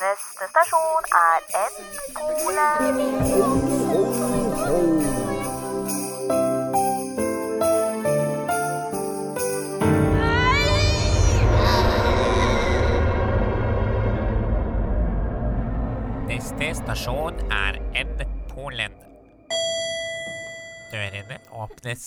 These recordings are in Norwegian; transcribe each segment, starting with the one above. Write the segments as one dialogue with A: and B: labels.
A: Neste stasjon er N-skole.
B: Neste stasjon er N-Polen. Dørene åpnes.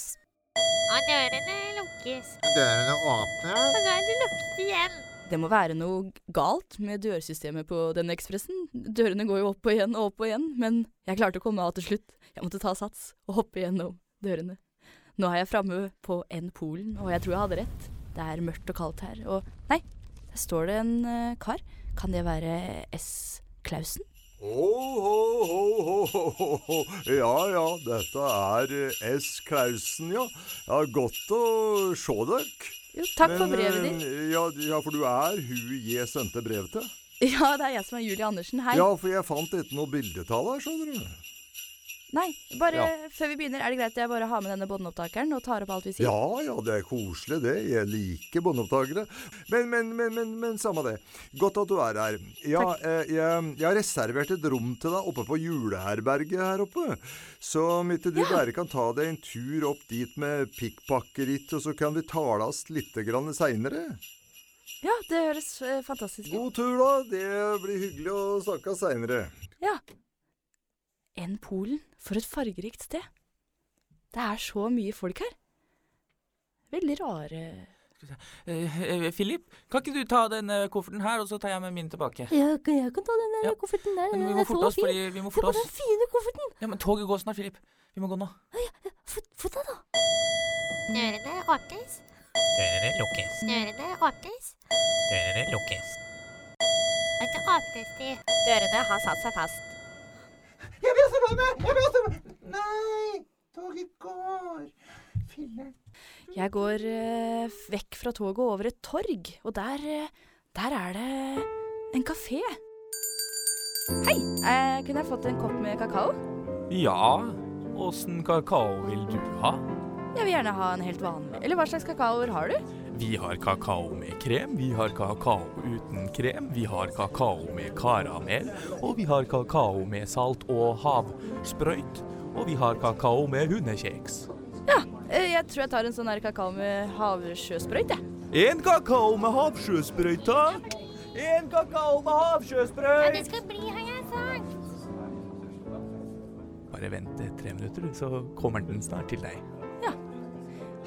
C: Og dørene lukkes.
D: Dørene åpner.
C: Og nå er det lukket igjen.
E: Det må være noe galt med dørsystemet på denne ekspressen. Dørene går jo opp og igjen og opp og igjen, men jeg klarte å komme av til slutt. Jeg måtte ta sats og hoppe gjennom dørene. Nå er jeg framme på N-Polen, og jeg tror jeg hadde rett. Det er mørkt og kaldt her, og nei, der står det en eh, kar. Kan det være S. Klausen?
F: Ho, ho, ho, ho, ho, ho, ho. Ja, ja, dette er eh, S. Klausen, ja. ja godt å se dere.
E: Jo, takk for
F: Men,
E: brevet ditt.
F: eh, Ja, ja, for du er hun jeg sendte brev til?
E: Ja, det er jeg som er Julie Andersen. Hei.
F: Eh. Ja, for jeg fant ikke noe bildetall her, skjønner du.
E: Nei, bare
F: Ja.
E: før vi begynner, er det greit at jeg bare har med denne båndopptakeren og tar opp alt vi sier?
F: Ja, ja, det er koselig, det. Jeg liker båndopptakere. Men, men, men, men, men samme det. Godt at du er her. Ja, eh, jeg, jeg har reservert et rom til deg oppe på juleherberget her oppe. Så om ikke du bare kan ta deg en tur opp dit med pikkpakkeritt, og så kan vi tales litt grann seinere.
E: Ja, det høres eh, fantastisk ut.
F: God tur, da. Det blir hyggelig å snakkes seinere.
E: Ja. Enn Polen. For et fargerikt sted. Det er så mye folk her. Veldig rare
G: Eh, eh, Philip, kan ikke du ta den eh, kofferten her, og så tar jeg med min tilbake?
H: Ja, jeg kan- jeg kan ta den der
G: Ja.
H: kofferten der.
G: Men vi
H: Den
G: må
H: er
G: forte
H: så
G: oss,
H: fin.
G: fordi vi må
H: Se på
G: forte
H: den
G: oss.
H: fine kofferten.
G: Ja, men toget går snart, Philip. Vi må gå nå.
H: Fot- Fot deg, da.
C: Dørene åpnes.
B: Dørene lukkes.
C: Dørene åpnes.
B: Dørene lukkes.
C: Og så åpnes de.
I: Dørene har satt seg fast.
D: Jeg blir også varm! Jeg blir også varm! Nei, toget går. Filler.
E: Jeg går eh, vekk fra toget og over et torg, og der, eh, der er det en kafé. Hei! Eh, kunne jeg fått en kopp med kakao?
G: Ja, åssen kakao vil du ha?
E: Jeg vil gjerne ha en helt vanlig. Eller hva slags kakaoer har du?
G: Vi har kakao med krem, vi har kakao uten krem, vi har kakao med karamell, og vi har kakao med salt og havsprøyt, og vi har kakao med hundekjeks.
E: Eh, jeg tror jeg tar en sånn her kakao med havsjøsprøyt, jeg.
G: En kakao med havsjøsprøyt, takk! En kakao med
C: Ja, det
G: havsjøsprøyt!
C: skal bli, har jeg sagt.
G: Bare vent eh, tre minutter, du, så kommer den snart til deg.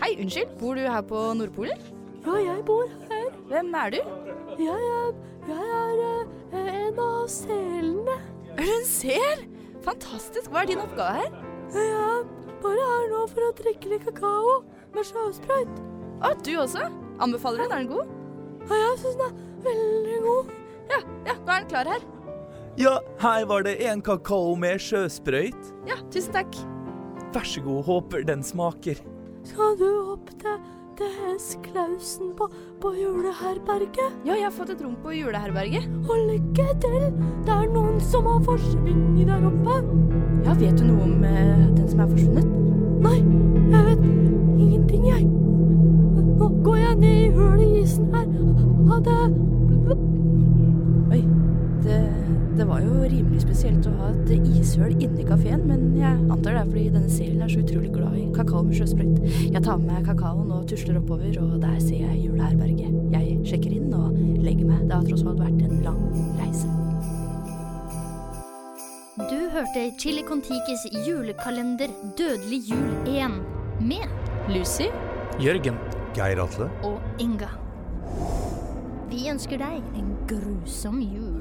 E: Hei, unnskyld. Bor du her på Nordpolen?
H: Ja, jeg bor her.
E: Hvem er du?
H: Jeg er, jeg er eh, en av selene.
E: Er du en sel? Fantastisk. Hva er din oppgave her?
H: Jeg er bare her nå for å drikke litt kakao med sjøsprøyt.
E: Å, du også? Anbefaler den? Er den god?
H: Og jeg syns den er veldig god.
E: Ja, ja, nå er den klar her.
G: Ja, her var det en kakao med sjøsprøyt.
E: Ja, tusen takk.
G: Vær så god, håper den smaker.
H: Skal du opp til, til S. Klausen på, på juleherberget?
E: Ja, jeg har fått et rom på juleherberget.
H: Og lykke til! Det er noen som har forsvunnet der oppe.
E: Ja, vet du noe om eh, den som er forsvunnet?
H: Nei, jeg vet ingenting, jeg. Nå går jeg ned i hullet i isen her. Ha det.
E: Det, det var jo rimelig spesielt å ha et ishøl inni kafeen, men jeg antar det er fordi denne selen er så utrolig glad i kakao med sjøsprøyt. Jeg tar med meg kakaoen og tusler oppover, og der ser jeg juleherberget. Jeg sjekker inn og legger meg. Det har tross alt vært en lang reise.
J: Du hørte Chili Contikis julekalender Dødelig jul 1 med
E: Lucy?
G: Jørgen.
F: Geir Atle.
J: og Inga. Vi ønsker deg en grusom jul.